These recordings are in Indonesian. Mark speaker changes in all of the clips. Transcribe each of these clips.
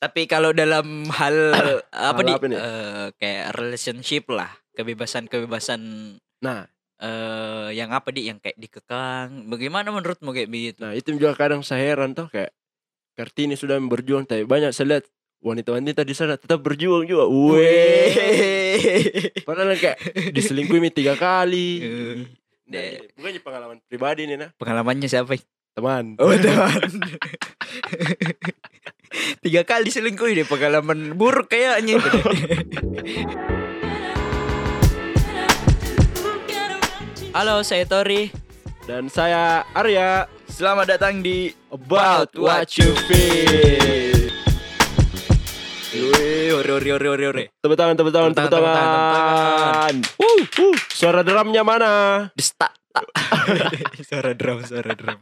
Speaker 1: Tapi kalau dalam hal apa
Speaker 2: Hal
Speaker 1: di
Speaker 2: apa nih?
Speaker 1: eh, kayak relationship lah, kebebasan-kebebasan
Speaker 2: Nah,
Speaker 1: eh yang apa di yang kayak dikekang. Bagaimana menurutmu kayak begitu?
Speaker 2: nah itu juga kadang saya heran tuh kayak Kartini sudah berjuang tapi banyak saya lihat wanita-wanita di sana tetap berjuang juga. Weh. Padahal kayak diselingkuhi ini tiga kali.
Speaker 1: Eh,
Speaker 2: Nah,
Speaker 1: deh.
Speaker 2: ini bukannya pengalaman pribadi nih nah,
Speaker 1: Pengalamannya siapa?
Speaker 2: teman.
Speaker 1: Oh, teman. Tiga kali selingkuh deh pengalaman buruk kayaknya itu. deh. Halo, saya Tori.
Speaker 2: Dan saya Arya
Speaker 1: Selamat datang di
Speaker 2: about what you feel.
Speaker 1: Wih, ore ore ore ore ore.
Speaker 2: Tepuk tangan, tepuk tangan, tepuk
Speaker 1: Tepuk tangan, tepuk tangan,
Speaker 2: tangan. Wuh, wuh. Suara drumnya mana?
Speaker 1: Desta. suara drum, suara drum.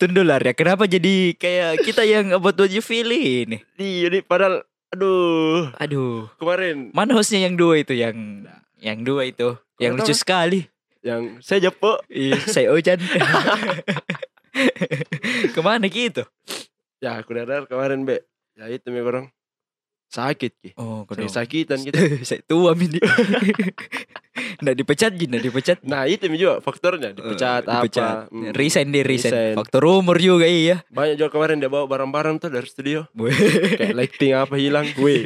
Speaker 1: Tundular ya, kenapa jadi kayak kita yang about what you feel ini?
Speaker 2: Iya, ini padahal aduh,
Speaker 1: Aduh,
Speaker 2: kemarin
Speaker 1: mana hostnya yang dua itu yang yang dua itu, yang lucu
Speaker 2: kenapa?
Speaker 1: sekali.
Speaker 2: yang saya jepo
Speaker 1: Iya, saya Ojan. Kemana gitu?
Speaker 2: Ya, aku dadar kemarin, Be. Ya itu mi orang. Sakit ki.
Speaker 1: Oh,
Speaker 2: Sakit
Speaker 1: saya,
Speaker 2: sakitan kita.
Speaker 1: saya tua mini. Nggak dipecat Jin, nggak dipecat.
Speaker 2: Nah, itu mi juga faktornya dipecat
Speaker 1: Eh,
Speaker 2: apa.
Speaker 1: dipecat.
Speaker 2: Hmm.
Speaker 1: Resign dia resign.
Speaker 2: Resign.
Speaker 1: Faktor umur juga iya.
Speaker 2: Banyak juga kemarin dia bawa barang-barang tuh dari studio.
Speaker 1: Weh,
Speaker 2: Kayak lighting apa hilang.
Speaker 1: Iya,
Speaker 2: Weh.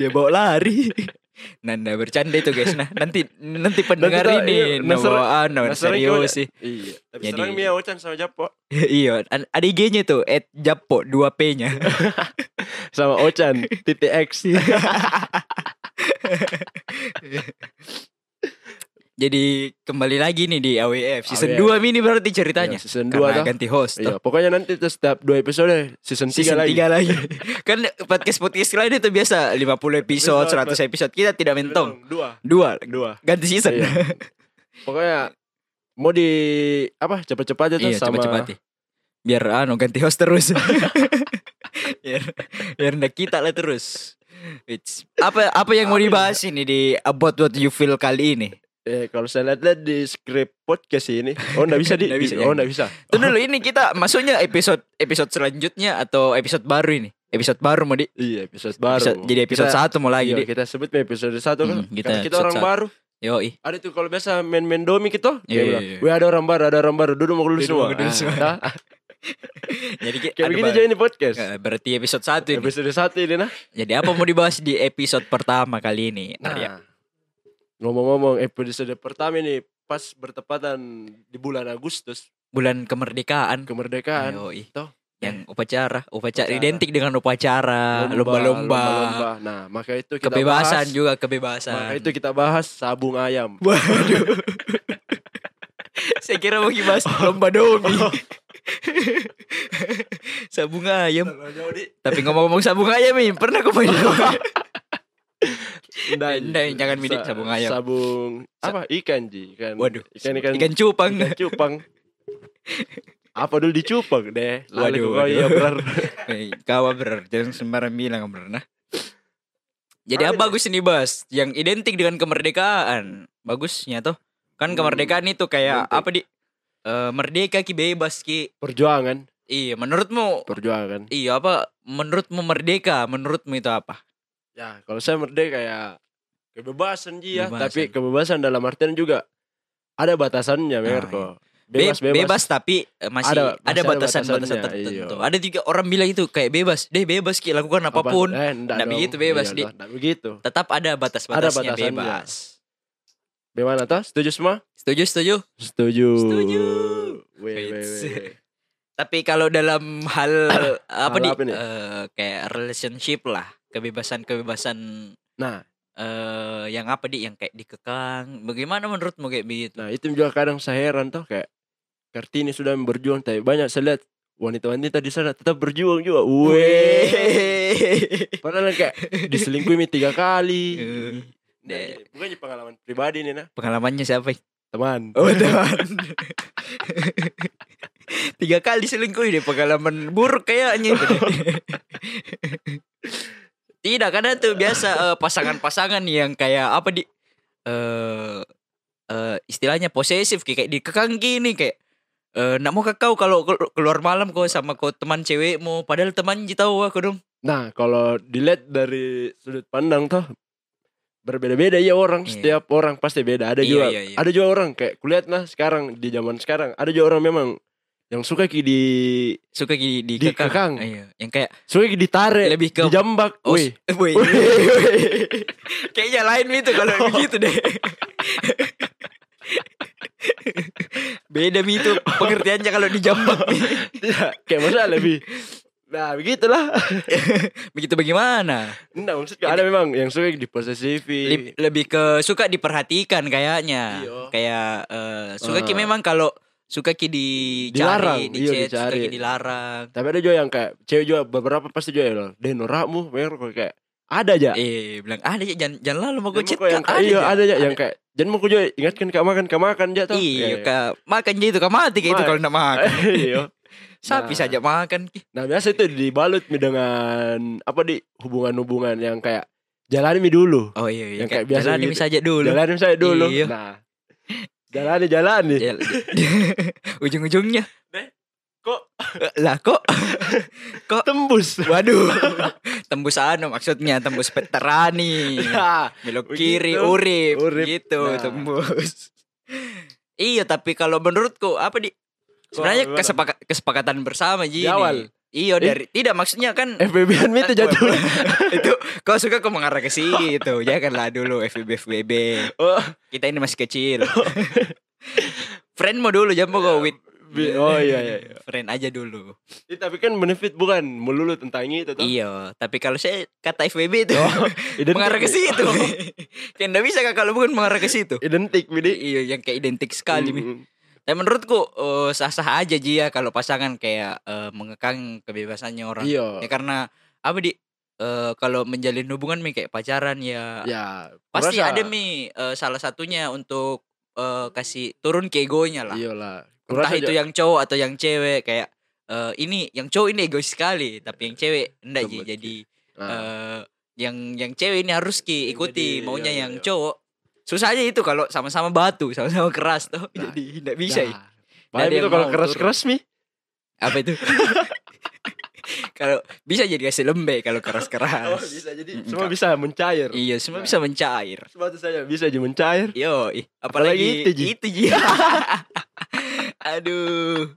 Speaker 1: dia bawa lari. Nanda Nah, bercanda itu guys nah nanti nanti pendengar
Speaker 2: Nanti tak- iya,
Speaker 1: ini nah,
Speaker 2: nasar-
Speaker 1: bawaan nah, serius
Speaker 2: nasarnya gimana?
Speaker 1: sih
Speaker 2: Iya. Tapi
Speaker 1: Jadi-
Speaker 2: sekarang Mia Ocan sama Japo.
Speaker 1: iya an- ada IG-nya tuh at japo 2 p nya
Speaker 2: Sama Ocan titik X.
Speaker 1: Iya, jadi kembali lagi nih di AWF season
Speaker 2: AWF.
Speaker 1: 2 mini berarti ceritanya
Speaker 2: Iya, season
Speaker 1: Karena
Speaker 2: 2
Speaker 1: ganti host toh.
Speaker 2: Iya, pokoknya nanti tuh setiap dua episode season 3
Speaker 1: Season
Speaker 2: lagi.
Speaker 1: 3 lagi. kan podcast podcast lain itu biasa 50 episode,
Speaker 2: Episode,
Speaker 1: 100 episode. Kita tidak mentong.
Speaker 2: Dua.
Speaker 1: Dua
Speaker 2: Dua.
Speaker 1: ganti season.
Speaker 2: Iya. Pokoknya mau di apa cepat-cepat aja tuh
Speaker 1: Iya,
Speaker 2: sama
Speaker 1: cepat-cepat. ya. Biar anu ganti host terus. biar biar ndak kita lah terus. It's, apa apa yang mau
Speaker 2: Apa ya?
Speaker 1: dibahas ini di about what you feel kali ini?
Speaker 2: Eh, kalau saya lihat-lihat di skrip podcast ini, oh enggak bisa di,
Speaker 1: Nggak
Speaker 2: di-
Speaker 1: bisa, ya.
Speaker 2: oh enggak bisa.
Speaker 1: Tuh dulu ini kita maksudnya episode episode selanjutnya atau episode baru ini? Episode baru mau di
Speaker 2: Iya, episode baru.
Speaker 1: episode- jadi episode
Speaker 2: Kita-
Speaker 1: satu mau lagi.
Speaker 2: Iya,
Speaker 1: Di.
Speaker 2: kita sebut nih episode 1 kan.
Speaker 1: Hmm, kita
Speaker 2: Karena kita
Speaker 1: episode
Speaker 2: orang
Speaker 1: satu.
Speaker 2: baru.
Speaker 1: Yoi.
Speaker 2: Ada tuh kalau biasa main-main domi kita.
Speaker 1: Iya,
Speaker 2: dia
Speaker 1: iya,
Speaker 2: bilang,
Speaker 1: iya.
Speaker 2: Wih, ada orang baru, ada orang baru. Duduk mau
Speaker 1: Duduk
Speaker 2: dulu semua.
Speaker 1: mau dulu
Speaker 2: Ah,
Speaker 1: semua.
Speaker 2: dah.
Speaker 1: Jadi ki-
Speaker 2: Kayak
Speaker 1: ada
Speaker 2: begini
Speaker 1: ba-
Speaker 2: aja ini podcast.
Speaker 1: Eh, berarti episode 1 ini.
Speaker 2: Episode 1 ini nah.
Speaker 1: Jadi apa mau dibahas di episode pertama kali ini? Iya. Arya?
Speaker 2: Nah, ngomong-ngomong episode pertama ini pas bertepatan di bulan Agustus
Speaker 1: Bulan kemerdekaan.
Speaker 2: kemerdekaan.
Speaker 1: Yoi.
Speaker 2: Toh.
Speaker 1: Yang upacara, upacara,
Speaker 2: Upacara.
Speaker 1: identik dengan upacara,
Speaker 2: lomba-lomba.
Speaker 1: Ah, lomba-lomba,
Speaker 2: Nah, maka itu kita
Speaker 1: kebebasan
Speaker 2: bahas,
Speaker 1: juga
Speaker 2: Maka
Speaker 1: kebebasan.
Speaker 2: itu kita bahas sabung ayam.
Speaker 1: Waduh. Oh. Saya kira mau bahas lomba domi. sabung ayam. Tapi ngomong-ngomong sabung ayam nih, pernah kau main domi? Ndai, jangan midik sabung ayam.
Speaker 2: Sabung apa? Ikan ji, ikan.
Speaker 1: Waduh.
Speaker 2: ikan ikan,
Speaker 1: Ikan cupang.
Speaker 2: ikan cupang. apa dulu dicupang deh? Lalu
Speaker 1: Waduh,
Speaker 2: kau
Speaker 1: waduh.
Speaker 2: iya berar.
Speaker 1: Eh, Kau bener, jangan sembarang bilang bener nah. Jadi
Speaker 2: Ada.
Speaker 1: apa bagus ini Bas? Yang identik dengan kemerdekaan. Bagusnya tuh. Kan
Speaker 2: Hmm,
Speaker 1: kemerdekaan itu kayak
Speaker 2: identik.
Speaker 1: apa di Eh, merdeka ki bebas ki.
Speaker 2: Perjuangan,
Speaker 1: Iya, menurutmu
Speaker 2: perjuangan.
Speaker 1: iya apa menurutmu merdeka? Menurutmu itu apa?
Speaker 2: Ya, kalau saya merdeka ya kebebasan ji ya,
Speaker 1: Kebebasan.
Speaker 2: tapi kebebasan dalam artian juga ada batasannya,
Speaker 1: iya.
Speaker 2: Mer. kok.
Speaker 1: Be-
Speaker 2: Bebas, bebas,
Speaker 1: tapi eh, masih
Speaker 2: Ada-
Speaker 1: ada,
Speaker 2: masih ada
Speaker 1: batasan-batasan
Speaker 2: batasannya,
Speaker 1: tertentu.
Speaker 2: iya.
Speaker 1: Ada juga orang bilang itu kayak bebas, deh bebas ki lakukan
Speaker 2: Apa-
Speaker 1: apapun.
Speaker 2: Eh, enggak
Speaker 1: Nah,
Speaker 2: dong.
Speaker 1: begitu bebas,
Speaker 2: Iya,
Speaker 1: Di.
Speaker 2: toh, enggak begitu.
Speaker 1: Tetap ada batas-batasnya
Speaker 2: batasannya.
Speaker 1: bebas.
Speaker 2: Bagaimana toh? Setuju semua?
Speaker 1: Setuju, setuju.
Speaker 2: Setuju.
Speaker 1: Setuju.
Speaker 2: Weh, weh,
Speaker 1: Wits.
Speaker 2: weh.
Speaker 1: Tapi kalau dalam hal apa
Speaker 2: Hal
Speaker 1: di
Speaker 2: apa nih?
Speaker 1: eh, kayak relationship lah, kebebasan-kebebasan
Speaker 2: Nah,
Speaker 1: eh yang apa di yang kayak dikekang. Bagaimana menurutmu kayak begitu?
Speaker 2: Nah itu juga kadang saya heran tuh kayak Kartini sudah berjuang tapi banyak saya lihat wanita-wanita di sana tetap berjuang juga. Weh. Padahal kayak diselingkuhi ini tiga kali.
Speaker 1: Eh,
Speaker 2: Nah,
Speaker 1: deh.
Speaker 2: ini bukannya pengalaman pribadi nih nah
Speaker 1: Pengalamannya siapa?
Speaker 2: teman.
Speaker 1: Oh, teman. Tiga kali selingkuh deh pengalaman buruk kayaknya. itu deh. Tidak karena tuh biasa eh, pasangan-pasangan yang kayak apa di eh eh, istilahnya posesif kayak, kayak dikekang gini kayak Eh, nak mau kau kalau kel- keluar malam kau sama kau teman cewekmu padahal teman ji tahu aku dong.
Speaker 2: Nah, kalau dilihat dari sudut pandang tuh berbeda-beda ya orang,
Speaker 1: Iya.
Speaker 2: setiap orang pasti beda. Ada
Speaker 1: Iya,
Speaker 2: juga
Speaker 1: iya, iya.
Speaker 2: ada juga orang kayak kulihat nah sekarang di zaman sekarang ada juga orang memang yang suka ki di
Speaker 1: Suka di di,
Speaker 2: Di kekang.
Speaker 1: kekang. Iya, yang kayak
Speaker 2: suka ki ditarik,
Speaker 1: Lebih ke-
Speaker 2: dijambak.
Speaker 1: Oh,
Speaker 2: Wih,
Speaker 1: eh, woi. Kayaknya lain itu kalau
Speaker 2: Oh.
Speaker 1: yang begitu deh. Beda Mi, itu pengertiannya kalau dijambak. Mi.
Speaker 2: tidak Ya, kayak maksudnya lebih Nah begitulah
Speaker 1: Begitu bagaimana?
Speaker 2: Nah maksudnya ada memang yang suka di posesifin
Speaker 1: Leb- lebih ke suka diperhatikan kayaknya.
Speaker 2: Iya.
Speaker 1: Kayak eh, suka ki
Speaker 2: Ah.
Speaker 1: memang kalau suka ki dicari,
Speaker 2: Dilarang, iya,
Speaker 1: dicet, suka ki
Speaker 2: dicari.
Speaker 1: dilarang.
Speaker 2: Tapi ada juga yang kayak Cewek juga beberapa pasti juga ya loh Dia norakmu Memang kok kayak Ada aja
Speaker 1: Eh, bilang ada aja jangan jangan lalu mau
Speaker 2: Jangan
Speaker 1: gue chat
Speaker 2: mau kok yang
Speaker 1: Kak,
Speaker 2: kayak Iya
Speaker 1: aja."
Speaker 2: ada aja Yang kayak Jangan mau kau juga Ingatkan kak makan Kak makan aja tau
Speaker 1: Iya, Kak. makan aja itu kak mati kayak itu
Speaker 2: Ma-
Speaker 1: kalau nak makan.
Speaker 2: Iya
Speaker 1: Sapi
Speaker 2: Nah.
Speaker 1: saja makan. Ki.
Speaker 2: Nah biasa itu dibalut mi dengan Apa di Hubungan-hubungan yang kayak Jalani mi dulu
Speaker 1: Oh iya, iya.
Speaker 2: Yang
Speaker 1: kayak
Speaker 2: kayak biasa
Speaker 1: jalani
Speaker 2: gitu.
Speaker 1: saja dulu.
Speaker 2: Jalani mi saya dulu
Speaker 1: Iya.
Speaker 2: Nah Jalani jalani
Speaker 1: Jal- Ya, Ujung-ujungnya.
Speaker 2: Deh, kok?
Speaker 1: Eh, Lah kok?
Speaker 2: Tembus
Speaker 1: Waduh. tembus anu maksudnya tembus peterani.
Speaker 2: Nah,
Speaker 1: Belok
Speaker 2: Begitu.
Speaker 1: kiri urip,
Speaker 2: Urip.
Speaker 1: gitu
Speaker 2: Nah.
Speaker 1: tembus. iya, tapi kalau menurutku apa di sebenarnya
Speaker 2: gimana?
Speaker 1: kesepaka- kesepakatan bersama Ji. ini.
Speaker 2: Di awal.
Speaker 1: Iya dari tidak maksudnya kan
Speaker 2: FBB-an mi itu jatuh
Speaker 1: itu kau suka kau mengarah ke situ janganlah dulu FBB FBB
Speaker 2: Oh.
Speaker 1: kita ini masih kecil friend mau dulu jangan mau kau with
Speaker 2: Bi- Oh iya iya iya.
Speaker 1: friend aja dulu
Speaker 2: Eh, Tapi kan benefit bukan melulu tentang itu tuh.
Speaker 1: iya tapi kalau saya kata FBB itu
Speaker 2: Oh, identik.
Speaker 1: mengarah ke situ
Speaker 2: Oh.
Speaker 1: kan nggak bisa Kak, kalau bukan mengarah ke situ
Speaker 2: Identik bide.
Speaker 1: iya yang kayak identik sekali Mi.
Speaker 2: Hmm.
Speaker 1: tapi menurutku eh, sah-sah aja Ji ya kalau pasangan kayak eh, mengekang kebebasannya orang
Speaker 2: Iya.
Speaker 1: ya karena apa di eh, kalau menjalin hubungan mi kayak pacaran ya
Speaker 2: Ya.
Speaker 1: Pasti
Speaker 2: kurasa.
Speaker 1: ada mi eh, salah satunya untuk eh, kasih turun ke egonya lah.
Speaker 2: Iya lah.
Speaker 1: Entah
Speaker 2: Kurasa
Speaker 1: itu ya,
Speaker 2: ja-
Speaker 1: yang cowok atau yang cewek kayak eh, ini yang cowok ini egois sekali, tapi yang cewek enggak Ji.
Speaker 2: Betul, Ji.
Speaker 1: Jadi
Speaker 2: Nah,
Speaker 1: eh, yang yang cewek ini harus ki
Speaker 2: Yang
Speaker 1: ikuti
Speaker 2: jadi,
Speaker 1: maunya
Speaker 2: iya, iya,
Speaker 1: yang
Speaker 2: iya.
Speaker 1: cowok. Susahnya itu kalau sama-sama batu, sama-sama keras tuh.
Speaker 2: Nah,
Speaker 1: Jadi enggak bisa. ya.
Speaker 2: nah. Paling
Speaker 1: ada
Speaker 2: itu
Speaker 1: yang
Speaker 2: kalau
Speaker 1: mau
Speaker 2: keras-keras mi.
Speaker 1: Apa itu? kalau bisa jadi kasih lembek kalau keras-keras. Mm,
Speaker 2: jadi
Speaker 1: Kak.
Speaker 2: semua Oh, bisa mencair.
Speaker 1: Iya, semua
Speaker 2: Nah.
Speaker 1: bisa mencair.
Speaker 2: Semua itu saja bisa aja mencair.
Speaker 1: Yo, ih,
Speaker 2: Apalagi
Speaker 1: apalagi,
Speaker 2: itu, Ji.
Speaker 1: itu Ji. Aduh.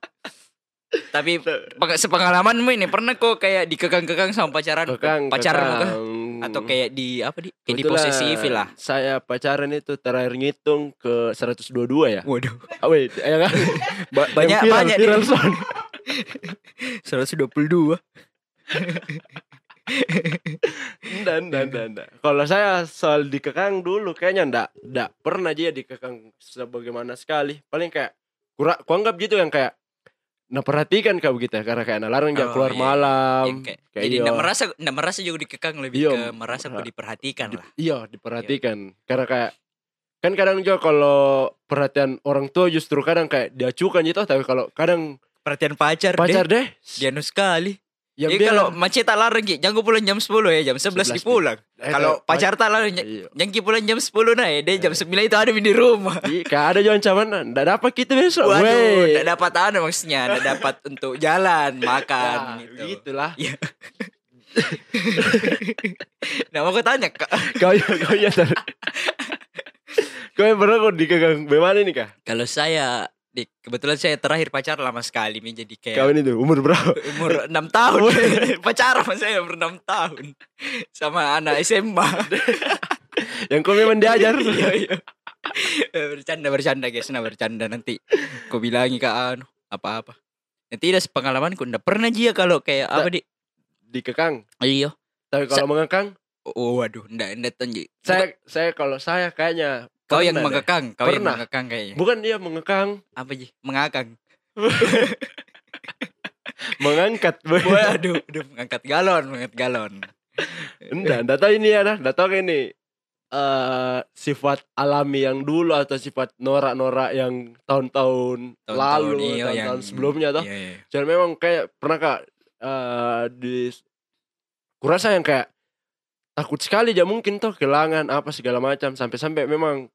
Speaker 1: Tapi peng- sepengalamanmu ini pernah kok kayak dikekang-kekang sama pacaran?
Speaker 2: Kekang,
Speaker 1: pacaran
Speaker 2: kekang.
Speaker 1: kah? Atau kayak di apa di kayak
Speaker 2: Hmm. Kebetulan
Speaker 1: diposesifin lah.
Speaker 2: Saya pacaran itu terakhir ngitung ke 122 ya.
Speaker 1: Waduh,
Speaker 2: Ah, wait, ya kan? Ba- yang
Speaker 1: Banyak-
Speaker 2: viral,
Speaker 1: banyak
Speaker 2: viral
Speaker 1: nih.
Speaker 2: sound.
Speaker 1: 122.
Speaker 2: Enggak, enggak, enggak, enggak. Kalau saya soal dikekang dulu kayaknya enggak, enggak pernah aja dikekang sebagaimana sekali. Paling kayak kurang kuanggap gitu yang kayak nah perhatikan kau gitu ya karena kayak nah larang
Speaker 1: Oh,
Speaker 2: jangan keluar
Speaker 1: iya, iya.
Speaker 2: malam.
Speaker 1: Ya, kayak-
Speaker 2: kayak
Speaker 1: jadi
Speaker 2: iya.
Speaker 1: enggak merasa enggak merasa juga dikekang lebih
Speaker 2: Iya,
Speaker 1: ke merasa aku
Speaker 2: merasa.
Speaker 1: diperhatikan lah.
Speaker 2: Iya, diperhatikan. Karena kayak kan kadang juga kalau perhatian orang tua justru kadang kayak diacukan gitu tapi kalau kadang
Speaker 1: Perhatian pacar,
Speaker 2: pacar
Speaker 1: pacar deh.
Speaker 2: deh, ya
Speaker 1: Dia nu sekali.
Speaker 2: yang
Speaker 1: Jadi kalau macet tak larang Ki, jangan pulang jam 10 ya, jam 11
Speaker 2: 11
Speaker 1: di pulang.
Speaker 2: eh, Eh.
Speaker 1: Kalau pacar tak larang jangan
Speaker 2: iya.
Speaker 1: pulang jam 10 nah ya, dia jam 9 itu ada di rumah.
Speaker 2: Iya, kayak ada juga ancaman, enggak dapat kita gitu besok.
Speaker 1: Waduh,
Speaker 2: Wey.
Speaker 1: tidak dapat anu maksudnya, tidak dapat untuk jalan, makan
Speaker 2: Nah,
Speaker 1: gitu.
Speaker 2: gitulah.
Speaker 1: Nah, mau aku tanya, Kak,
Speaker 2: kau yang kau yang ter- kau yang pernah kau dikegang bagaimana nih kak
Speaker 1: kalau saya di, kebetulan saya terakhir pacar lama sekali nih jadi kayak
Speaker 2: kau ini tuh umur berapa
Speaker 1: umur 6 tahun. pacaran sama saya umur 6 tahun sama anak SMA.
Speaker 2: yang kau memang diajar
Speaker 1: Iya, iya. Eh, bercanda bercanda guys, nah bercanda nanti. Kau bilangi Kak anu apa-apa. Nanti ada sepengalamanku ndak pernah jia kalau kayak apa di
Speaker 2: dikekang
Speaker 1: Iya.
Speaker 2: tapi kalau mengekang
Speaker 1: Oh, waduh, ndak ndak tanji.
Speaker 2: saya saya kalau saya kayaknya
Speaker 1: kau yang
Speaker 2: pernah deh.
Speaker 1: mengekang, kau yang
Speaker 2: Pernah.
Speaker 1: mengekang kayaknya.
Speaker 2: bukan dia mengekang
Speaker 1: apa sih mengakang
Speaker 2: mengangkat
Speaker 1: waduh aduh, mengangkat galon mengangkat galon
Speaker 2: enggak enggak tahu ini ya nah enggak tahu ini eh sifat alami yang dulu atau sifat norak-norak yang tahun-tahun oh,
Speaker 1: Tahun-tahun
Speaker 2: lalu
Speaker 1: iya,
Speaker 2: tahun-tahun
Speaker 1: yang-
Speaker 2: sebelumnya toh
Speaker 1: Iya, iya.
Speaker 2: Dan memang kayak pernah kak eh, di kurasa yang kayak takut sekali ya mungkin tuh kehilangan apa segala macam sampai-sampai memang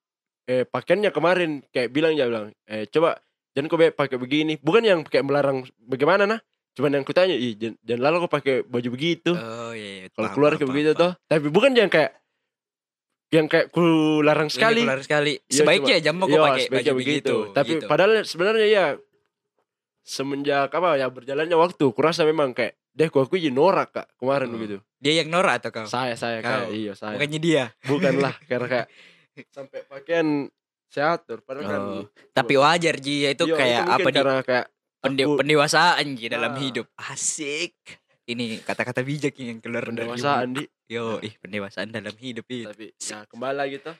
Speaker 2: eh pakaiannya kemarin kayak bilang ya bilang eh coba jangan kau be pakai begini bukan yang pakai melarang bagaimana nah cuman yang kutanya ih jangan, jangan lalu kau pakai baju begitu
Speaker 1: Oh iya. iya,
Speaker 2: kalau
Speaker 1: paham,
Speaker 2: keluar
Speaker 1: paham,
Speaker 2: kayak
Speaker 1: paham,
Speaker 2: begitu
Speaker 1: paham.
Speaker 2: toh tapi bukan yang kayak yang kayak ku larang
Speaker 1: Iya,
Speaker 2: sekali
Speaker 1: keluar sekali.
Speaker 2: Iya,
Speaker 1: Sebaiknya jam mau kau
Speaker 2: Iya,
Speaker 1: pakai
Speaker 2: sebaiknya
Speaker 1: baju begitu.
Speaker 2: tapi
Speaker 1: gitu.
Speaker 2: padahal sebenarnya ya semenjak apa ya berjalannya waktu kurasa memang kayak deh aku aku norak kak kemarin
Speaker 1: Hmm.
Speaker 2: begitu
Speaker 1: dia yang norak atau kau?
Speaker 2: saya saya
Speaker 1: Kau.
Speaker 2: kayak iya saya
Speaker 1: Bukannya dia.
Speaker 2: bukanlah karena kayak sampai pakaian saya atur padahal kan
Speaker 1: Oh, Tapi wajar Ji, itu
Speaker 2: iya,
Speaker 1: kayak
Speaker 2: mungkin
Speaker 1: apa di
Speaker 2: karena kayak
Speaker 1: pende-
Speaker 2: aku-
Speaker 1: pendewasaan Ji dalam
Speaker 2: Ah.
Speaker 1: hidup. Asik. Ini kata-kata bijak yang keluar dari
Speaker 2: pendewasaan di
Speaker 1: mulut. Yo, ih pendewasaan dalam hidup itu.
Speaker 2: tapi nah kembali lagi toh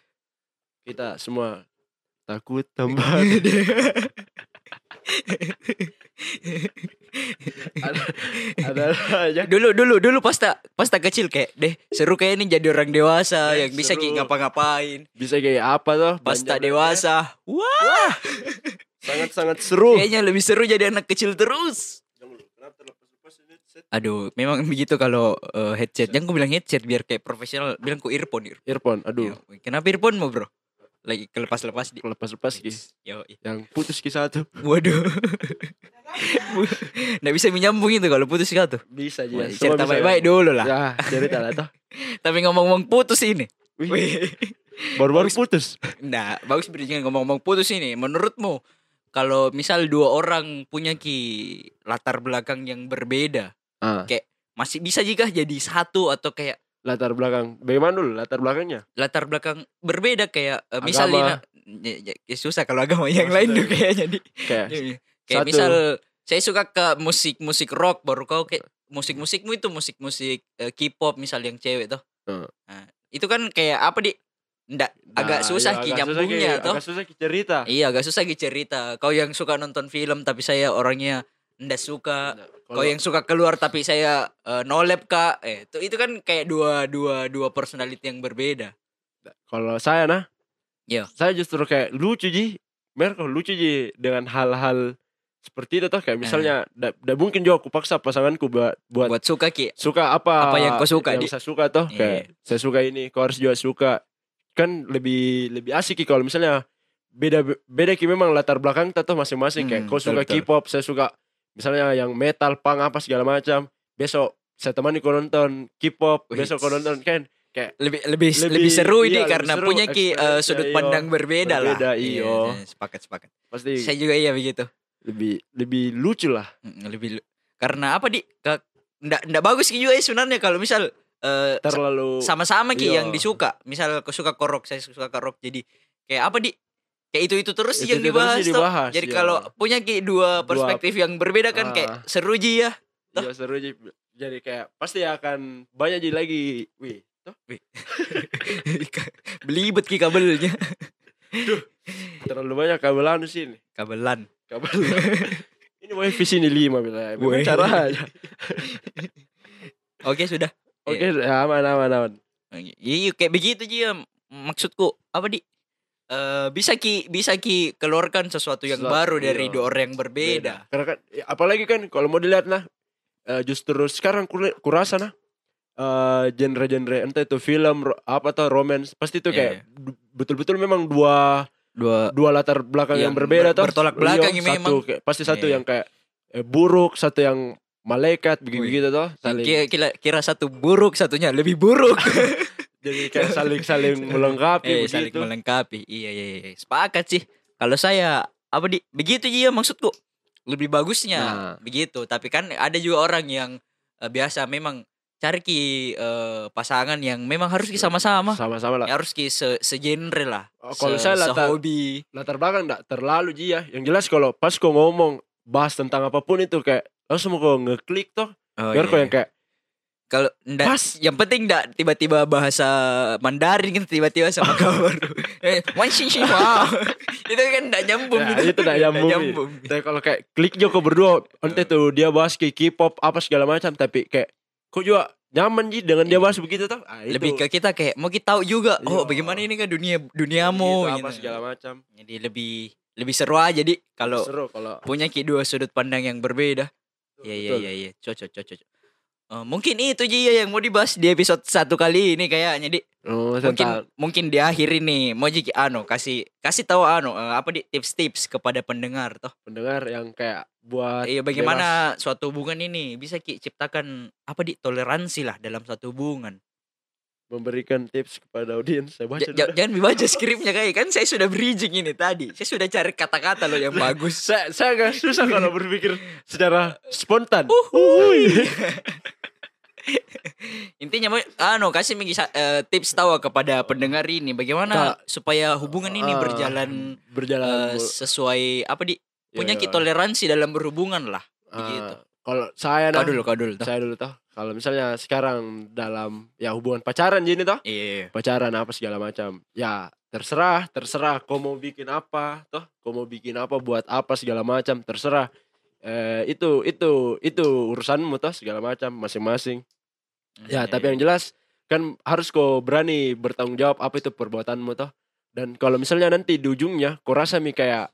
Speaker 2: kita semua takut tambah ada ada aja
Speaker 1: Eh, dulu dulu dulu pas tak pas tak kecil kayak deh seru kayak ini jadi orang dewasa
Speaker 2: Ya,
Speaker 1: yang bisa Ki
Speaker 2: seru.
Speaker 1: ngapa-ngapain.
Speaker 2: bisa kayak apa toh
Speaker 1: Pas tak
Speaker 2: belanja-belanja.
Speaker 1: dewasa, wah
Speaker 2: sangat sangat seru
Speaker 1: kayaknya lebih seru jadi anak kecil terus.
Speaker 2: Jangan dulu, kenapa terlepas-lepas ini set
Speaker 1: Aduh, memang begitu kalau eh, headset. Yang gue bilang headset biar kayak profesional, bilang ku earphone. earphone.
Speaker 2: earphone aduh
Speaker 1: Yo, Kenapa earphone mau bro? Lagi kelepas-lepas di.
Speaker 2: lepas-lepas ki
Speaker 1: Yo,
Speaker 2: yang putus ki satu
Speaker 1: waduh. Nggak bisa menyambung itu kalau putus kau tuh.
Speaker 2: bisa
Speaker 1: Wah,
Speaker 2: aja
Speaker 1: cerita baik-baik dulu lah.
Speaker 2: ya cerita lah toh
Speaker 1: Tapi ngomong-ngomong putus ini.
Speaker 2: Wih,
Speaker 1: Wih.
Speaker 2: baru-baru putus
Speaker 1: nah, bagus berizinkan ngomong-ngomong putus ini. Menurutmu kalau misal dua orang punya ki latar belakang yang berbeda,
Speaker 2: ah,
Speaker 1: masih bisa jika jadi satu atau kayak
Speaker 2: latar belakang bagaimana dulu latar belakangnya
Speaker 1: latar belakang berbeda kayak eh,
Speaker 2: Agama.
Speaker 1: misalnya ya, ya, susah kalau agama yang lain tuh kayaknya di
Speaker 2: kayak
Speaker 1: kayak
Speaker 2: Satu.
Speaker 1: misal saya suka ke musik musik rock baru kau kayak musik musikmu itu musik musik K-pop misal yang cewek tuh
Speaker 2: Hmm.
Speaker 1: Nah, itu kan kayak apa di ndak agak
Speaker 2: Nah,
Speaker 1: susah
Speaker 2: iya,
Speaker 1: ki
Speaker 2: agak susah, Ki.
Speaker 1: nyambungnya toh
Speaker 2: agak susah ki cerita
Speaker 1: iya agak susah ki cerita kau yang suka nonton film tapi saya orangnya ndak suka
Speaker 2: Nah,
Speaker 1: kau yang suka keluar tapi saya eh, nolep kak eh itu itu kan kayak dua dua dua personality yang berbeda
Speaker 2: kalau saya nah
Speaker 1: Iya.
Speaker 2: saya justru kayak lucu ji mer kalau lucu ji dengan hal-hal seperti itu toh kayak
Speaker 1: Eh.
Speaker 2: misalnya da, da mungkin juga aku paksa pasanganku buat buat,
Speaker 1: buat suka ki
Speaker 2: suka apa
Speaker 1: Apa yang kau suka, Iya.
Speaker 2: yang
Speaker 1: Di?
Speaker 2: saya suka toh kayak saya suka ini kau harus juga suka kan lebih lebih asik Ki, kalau misalnya beda beda ki memang latar belakang kita toh masing-masing kayak
Speaker 1: Hmm,
Speaker 2: kau suka
Speaker 1: betul, betul.
Speaker 2: K-pop saya suka misalnya yang metal punk apa segala macam besok saya temani kau nonton K-pop
Speaker 1: Wih.
Speaker 2: besok kau nonton kan
Speaker 1: lebih lebih
Speaker 2: Lebih-
Speaker 1: lebih seru ini
Speaker 2: iya, lebih
Speaker 1: karena
Speaker 2: seru
Speaker 1: punya ki eh,
Speaker 2: experience-nya,
Speaker 1: sudut
Speaker 2: iyo.
Speaker 1: pandang berbeda,
Speaker 2: Berbeda,
Speaker 1: lah.
Speaker 2: iyo.
Speaker 1: iya, sepakat sepakat.
Speaker 2: pasti
Speaker 1: Saya juga iya begitu.
Speaker 2: lebih lebih lucu lah
Speaker 1: Mm, Lebih lu- karena apa di Ka- ndak ndak bagus ki juga ya sebenarnya kalau misal eh, sa-
Speaker 2: terlalu
Speaker 1: sama-sama ki
Speaker 2: iyo.
Speaker 1: yang disuka. Misal aku suka korok, saya suka korok. Jadi kayak apa di kayak itu itu terus
Speaker 2: Itu-
Speaker 1: yang
Speaker 2: itu terus
Speaker 1: dibahas.
Speaker 2: sih
Speaker 1: toh.
Speaker 2: dibahas,
Speaker 1: Jadi
Speaker 2: iya.
Speaker 1: kalau punya ki dua
Speaker 2: Dua-
Speaker 1: perspektif yang berbeda kan kayak
Speaker 2: Ah.
Speaker 1: seru ji ya.
Speaker 2: Iya, seru Ji. jadi kayak pasti akan banyak jadi lagi wih toh
Speaker 1: Belibet ki kabelnya.
Speaker 2: terlalu banyak kabelan di sini
Speaker 1: Kabelan.
Speaker 2: kabel ini wifi sini lima bila
Speaker 1: Weh.
Speaker 2: cara aja
Speaker 1: Oke sudah.
Speaker 2: oke ya, aman aman aman
Speaker 1: Iya iya, kayak begitu Ji M- maksudku apa di Eh bisa ki bisa ki keluarkan sesuatu yang
Speaker 2: Sesuatu,
Speaker 1: baru dari
Speaker 2: iya.
Speaker 1: dua orang yang berbeda.
Speaker 2: karena kan ya, apalagi kan kalau mau dilihat nah eh, justru sekarang ku, kurasa nah eh, genre-genre entah itu film ro- apa atau romance pasti itu
Speaker 1: Iya,
Speaker 2: kayak du- betul-betul memang dua
Speaker 1: Dua
Speaker 2: dua latar belakang
Speaker 1: Yang
Speaker 2: yang, berbeda
Speaker 1: Iya, ber-
Speaker 2: toh.
Speaker 1: bertolak belakang
Speaker 2: Iya,
Speaker 1: ini
Speaker 2: satu
Speaker 1: memang.
Speaker 2: kayak, pasti satu
Speaker 1: Iya.
Speaker 2: yang kayak eh, buruk satu yang malaikat begitu gitu toh saling
Speaker 1: kira, kira, kira satu buruk satunya lebih buruk.
Speaker 2: jadi kayak saling saling melengkapi
Speaker 1: eh,
Speaker 2: begitu
Speaker 1: saling melengkapi. Iya, iya iya sepakat sih. Kalau saya apa di begitu Ji ya maksudku. Lebih bagusnya
Speaker 2: Nah.
Speaker 1: begitu. Tapi kan ada juga orang yang eh, biasa memang cari ki eh, pasangan yang memang harus ki sama-sama.
Speaker 2: sama-sama lah
Speaker 1: Harus ki se segenre lah.
Speaker 2: Oh,
Speaker 1: Ya,
Speaker 2: kalau
Speaker 1: Se-
Speaker 2: saya latar
Speaker 1: sehobi.
Speaker 2: latar belakang enggak terlalu ji ya yang jelas kalau pas kau ngomong bahas tentang apapun itu kayak langsung kau ngeklik toh
Speaker 1: Oh,
Speaker 2: biar
Speaker 1: iya,
Speaker 2: kau
Speaker 1: iya.
Speaker 2: yang kayak
Speaker 1: kalau ndak
Speaker 2: Pas.
Speaker 1: yang penting ndak tiba-tiba bahasa Mandarin kan tiba-tiba sama kabar. eh, wan xin xin hua. itu kan ndak nyambung
Speaker 2: Ya,
Speaker 1: gitu.
Speaker 2: itu ndak nyambung, iya. tapi kalau kayak klik juga kau berdua ente
Speaker 1: Iya.
Speaker 2: tuh dia bahas kayak K-pop apa segala macam tapi kayak kau juga nyaman ji dengan dia bahas begitu toh Ah,
Speaker 1: Iya.
Speaker 2: itu.
Speaker 1: Lebih ke kita kayak mau kita tahu juga oh
Speaker 2: Iya.
Speaker 1: bagaimana ini kan dunia duniamu
Speaker 2: Gitu,
Speaker 1: gitu.
Speaker 2: apa segala macam
Speaker 1: Jadi lebih lebih seru aja jadi kalau
Speaker 2: seru kalau
Speaker 1: punya ki dua sudut pandang yang berbeda. Iya iya
Speaker 2: Betul.
Speaker 1: iya iya cocok cocok. cocok. Eh, mungkin itu Ji yang mau dibahas di episode satu kali ini kayaknya di
Speaker 2: Oh,
Speaker 1: mungkin
Speaker 2: tentang
Speaker 1: mungkin di akhir ini mau Ji anu kasih kasih tahu anu eh, apa di tips-tips kepada pendengar toh.
Speaker 2: pendengar yang kayak buat
Speaker 1: Iya bagaimana suatu hubungan ini bisa Ki ciptakan apa di toleransi lah dalam suatu hubungan.
Speaker 2: bebas memberikan tips kepada audiens. Saya baca
Speaker 1: Ja- ja-
Speaker 2: dulu.
Speaker 1: jangan dibaca skripnya kayak kan saya sudah bridging ini tadi. Saya sudah cari kata-kata loh yang bagus.
Speaker 2: Saya, saya agak susah kalau berpikir secara spontan.
Speaker 1: Uhuy. Intinya mau anu kasih Minggi sa- eh, tips tahu kepada pendengar ini bagaimana supaya hubungan ini
Speaker 2: Ah,
Speaker 1: berjalan
Speaker 2: berjalan
Speaker 1: eh,
Speaker 2: mul-
Speaker 1: sesuai apa di
Speaker 2: iya,
Speaker 1: punya
Speaker 2: iya.
Speaker 1: ki toleransi dalam berhubungan lah.
Speaker 2: Ah,
Speaker 1: begitu.
Speaker 2: Kalau saya nah,
Speaker 1: Kau dulu, kau dulu. toh.
Speaker 2: saya dulu toh. Kalau misalnya sekarang dalam ya hubungan pacaran gini toh.
Speaker 1: Iya.
Speaker 2: pacaran apa segala macam ya terserah terserah kau mau bikin apa toh kau mau bikin apa buat apa segala macam terserah eh, itu itu itu urusanmu toh segala macam masing-masing
Speaker 1: Iya,
Speaker 2: ya tapi yang jelas kan harus kau berani bertanggung jawab apa itu perbuatanmu toh dan kalau misalnya nanti di ujungnya kau rasa mi kayak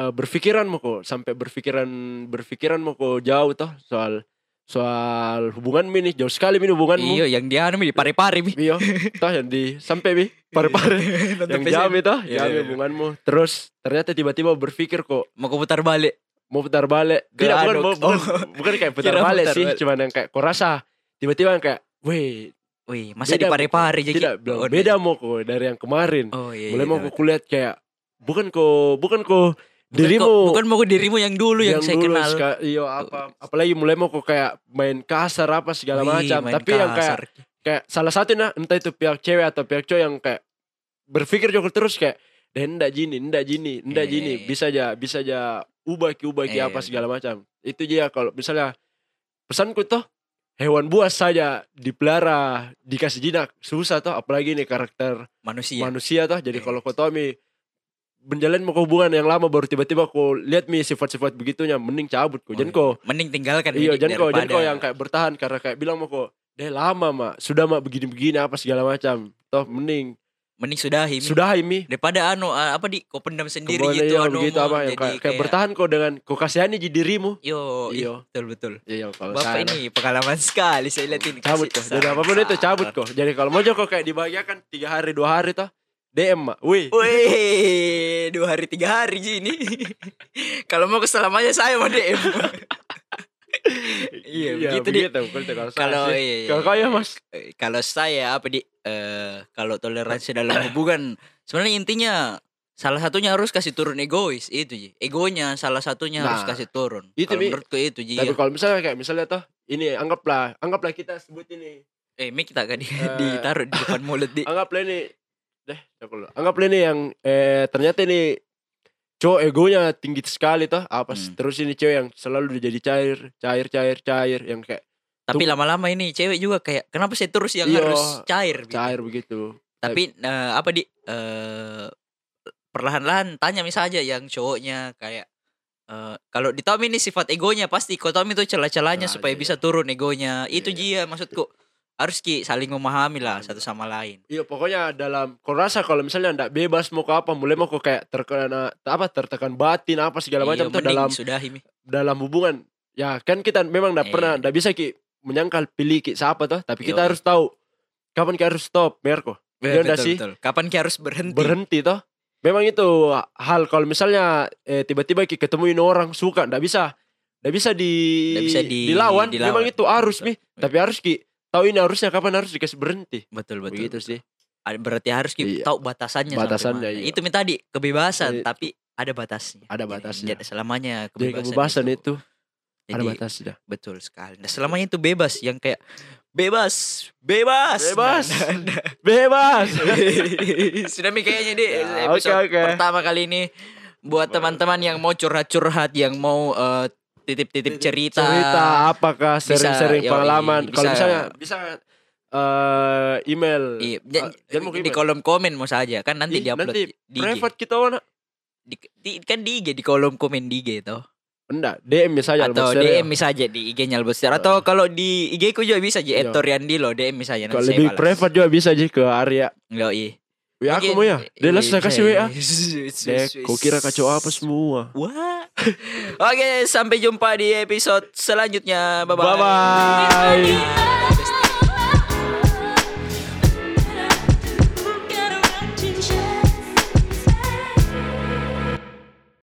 Speaker 2: eh, berpikiranmu kok sampai berpikiran berpikiranmu kok jauh toh soal soal hubungan ini jauh sekali ini hubunganmu
Speaker 1: Iya, yang dia anu Mi, di pare-pare mi.
Speaker 2: Iya, toh yang di sampai bi pare-pare yang jam
Speaker 1: Iya,
Speaker 2: itu, jam
Speaker 1: iya, iya.
Speaker 2: hubunganmu. Terus ternyata tiba-tiba berpikir kok
Speaker 1: Mau kau putar balik.
Speaker 2: mau putar balik.
Speaker 1: Ke
Speaker 2: Tidak bukan,
Speaker 1: aduk.
Speaker 2: mau- bukan,
Speaker 1: Oh.
Speaker 2: bukan kayak putar
Speaker 1: Kira
Speaker 2: balik
Speaker 1: putar
Speaker 2: sih,
Speaker 1: balik.
Speaker 2: cuman yang kayak kok rasa tiba-tiba yang kayak, weh
Speaker 1: Wih, masa di
Speaker 2: Beda,
Speaker 1: pare-pare jadi.
Speaker 2: tidak belum beda mau kok dari yang kemarin.
Speaker 1: Oh iya. iya,
Speaker 2: Mulai mau
Speaker 1: iya.
Speaker 2: kok kulihat kayak bukan kok bukan kok
Speaker 1: Bukan kok-
Speaker 2: dirimu
Speaker 1: bukan mau kok dirimu yang dulu yang, saya
Speaker 2: dulu
Speaker 1: kenal. Oh.
Speaker 2: seka- iya apa apalagi mulai mau kok kayak main kasar apa segala
Speaker 1: Wih,
Speaker 2: macam
Speaker 1: main
Speaker 2: tapi yang kayak
Speaker 1: kasar.
Speaker 2: kayak salah satu nah entah itu pihak cewek atau pihak cowok yang kayak berpikir jokol terus kayak dan ndak jini ndak jini
Speaker 1: Eh.
Speaker 2: ndak jini bisa aja bisa aja ubah ki ubah ki
Speaker 1: Eh,
Speaker 2: apa segala macam itu aja ya kalau misalnya pesanku toh hewan buas saja dipelihara dikasih jinak susah toh apalagi nih karakter
Speaker 1: manusia.
Speaker 2: manusia toh
Speaker 1: Eh.
Speaker 2: jadi kalau kau tahu mi menjalin mau hubungan yang lama baru tiba-tiba kau lihat mi sifat-sifat begitunya mending cabut kau jangan
Speaker 1: Oh,
Speaker 2: kau
Speaker 1: iya. Mending tinggalkan Dik,
Speaker 2: Iya, jangan kau, jangan kau
Speaker 1: daripada-
Speaker 2: yang kayak bertahan karena kayak bilang mau kok, deh lama mak, sudah mak begini-begini apa segala macam. Toh mending
Speaker 1: mending sudahi Mi.
Speaker 2: sudah ini.
Speaker 1: daripada anu ah, apa di kau pendam sendiri
Speaker 2: Kembali
Speaker 1: gitu
Speaker 2: iya,
Speaker 1: anu
Speaker 2: begitu
Speaker 1: mau
Speaker 2: apa yang
Speaker 1: jadi
Speaker 2: kayak, kayak bertahan kau dengan kau kasihani di dirimu.
Speaker 1: Yo,
Speaker 2: Iya.
Speaker 1: iya. betul betul.
Speaker 2: Iya, kalau
Speaker 1: Bapak ini pengalaman sekali saya lihat ini.
Speaker 2: cabut
Speaker 1: kasih
Speaker 2: kok. Jadi
Speaker 1: saran
Speaker 2: apapun itu
Speaker 1: saran.
Speaker 2: cabut kok. Jadi kalau mau kau kayak dibahagiakan tiga hari dua hari toh DM mak.
Speaker 1: Oh,
Speaker 2: Wih,
Speaker 1: Wih, dua hari tiga hari Ji, ini. Kalau mau kesalamannya saya mau DM. iya, begitu, Dik.
Speaker 2: begitu, kalau saya
Speaker 1: Kalau
Speaker 2: sih.
Speaker 1: iya, iya,
Speaker 2: kalau kau ya
Speaker 1: iya.
Speaker 2: mas,
Speaker 1: Eh, kalau saya apa di eh, kalau toleransi dalam hubungan sebenarnya intinya salah satunya harus kasih turun egois itu Ji. Egonya salah satunya harus
Speaker 2: Nah,
Speaker 1: kasih turun.
Speaker 2: itu,
Speaker 1: Kalau
Speaker 2: Mi.
Speaker 1: menurutku itu Ji. ya.
Speaker 2: tapi kalau misalnya kayak misalnya toh ini anggaplah anggaplah kita sebut ini
Speaker 1: Eh, Mik tak di,
Speaker 2: Eh.
Speaker 1: ditaruh di depan mulut di.
Speaker 2: anggaplah Iya. ini deh ya aku dulu. anggaplah ini yang eh ternyata ini cowok egonya tinggi sekali toh apa
Speaker 1: Hmm.
Speaker 2: sih? terus ini cewek yang selalu jadi cair cair cair cair yang kayak
Speaker 1: Tapi
Speaker 2: tuh.
Speaker 1: lama-lama ini cewek juga kayak kenapa saya terus yang
Speaker 2: Iya,
Speaker 1: harus cair? gitu?
Speaker 2: cair begitu
Speaker 1: Tapi eh, apa di eh, perlahan-lahan tanya misalnya yang cowoknya kayak eh, kalau di Tommy ini sifat egonya pasti kau Tommy itu celah-celahnya
Speaker 2: Nah,
Speaker 1: supaya
Speaker 2: iya,
Speaker 1: bisa turun egonya.
Speaker 2: Iya,
Speaker 1: Itu
Speaker 2: iya.
Speaker 1: dia maksudku. Harus ki saling memahami lah satu sama lain.
Speaker 2: iya pokoknya dalam kau rasa kalau misalnya ndak bebas mau ke apa mulai mau kau kayak terkena apa tertekan batin apa segala
Speaker 1: Iya,
Speaker 2: macam tuh
Speaker 1: mending
Speaker 2: dalam
Speaker 1: sudahi Mi.
Speaker 2: dalam hubungan ya kan kita memang ndak
Speaker 1: Eh.
Speaker 2: pernah ndak bisa ki menyangkal pilih ki siapa toh tapi kita
Speaker 1: Yoi.
Speaker 2: harus tahu kapan kita harus stop Merko Iya, ndak
Speaker 1: Betul,
Speaker 2: sih?
Speaker 1: betul. Kapan ki harus berhenti?
Speaker 2: berhenti toh memang itu hal kalau misalnya eh, tiba-tiba ki ketemuin orang suka ndak bisa ndak bisa di
Speaker 1: Ndak bisa di-
Speaker 2: dilawan.
Speaker 1: dilawan.
Speaker 2: memang itu harus mi
Speaker 1: Betul.
Speaker 2: tapi harus ki tahu ini harusnya kapan harus dikasih berhenti
Speaker 1: Betul betul.
Speaker 2: begitu sih
Speaker 1: Ada- Berarti harus ki
Speaker 2: Iya.
Speaker 1: tahu batasannya sampai
Speaker 2: Batasannya,
Speaker 1: mana.
Speaker 2: iya.
Speaker 1: Itu Mi tadi kebebasan
Speaker 2: Jadi-
Speaker 1: tapi ada batasnya.
Speaker 2: Ada
Speaker 1: Jadi,
Speaker 2: batasnya.
Speaker 1: tidak selamanya
Speaker 2: jadi
Speaker 1: kebebasan.
Speaker 2: kebebasan itu, ada
Speaker 1: Jadi,
Speaker 2: batasnya
Speaker 1: Betul sekali. Nah, selamanya itu bebas yang kayak bebas, bebas,
Speaker 2: Bebas.
Speaker 1: Nah, nah,
Speaker 2: bebas
Speaker 1: nah. Sudah Mi, kayaknya di
Speaker 2: Ya,
Speaker 1: episode
Speaker 2: oke, oke.
Speaker 1: pertama kali ini buat teman-teman yang mau curhat-curhat, yang mau eh, titip-titip cerita,
Speaker 2: cerita apakah sering-sering
Speaker 1: yoi,
Speaker 2: pengalaman
Speaker 1: bisa.
Speaker 2: kalau misalnya bisa eh, email
Speaker 1: Iya,
Speaker 2: Ah, jangan mau
Speaker 1: di, di
Speaker 2: email.
Speaker 1: kolom komen mau saja kan nanti
Speaker 2: Ih,
Speaker 1: diupload
Speaker 2: nanti
Speaker 1: di, IG.
Speaker 2: private kita wana
Speaker 1: Di- di- kan di IG di kolom komen di IG toh.
Speaker 2: enggak DM misalnya
Speaker 1: atau DM bisa aja di IG Albert Setir atau kalau di IG ku juga bisa aja
Speaker 2: Iya.
Speaker 1: Etoriandi loh DM misalnya
Speaker 2: kalau lebih private juga bisa aja ke Arya
Speaker 1: Yoi.
Speaker 2: WA aku mau
Speaker 1: eh,
Speaker 2: ya. Dia langsung saya kasih WA. Dek, kau kira kacau apa semua?
Speaker 1: Wah. Oke, sampai jumpa di episode selanjutnya. Bye-bye.
Speaker 2: Bye-bye.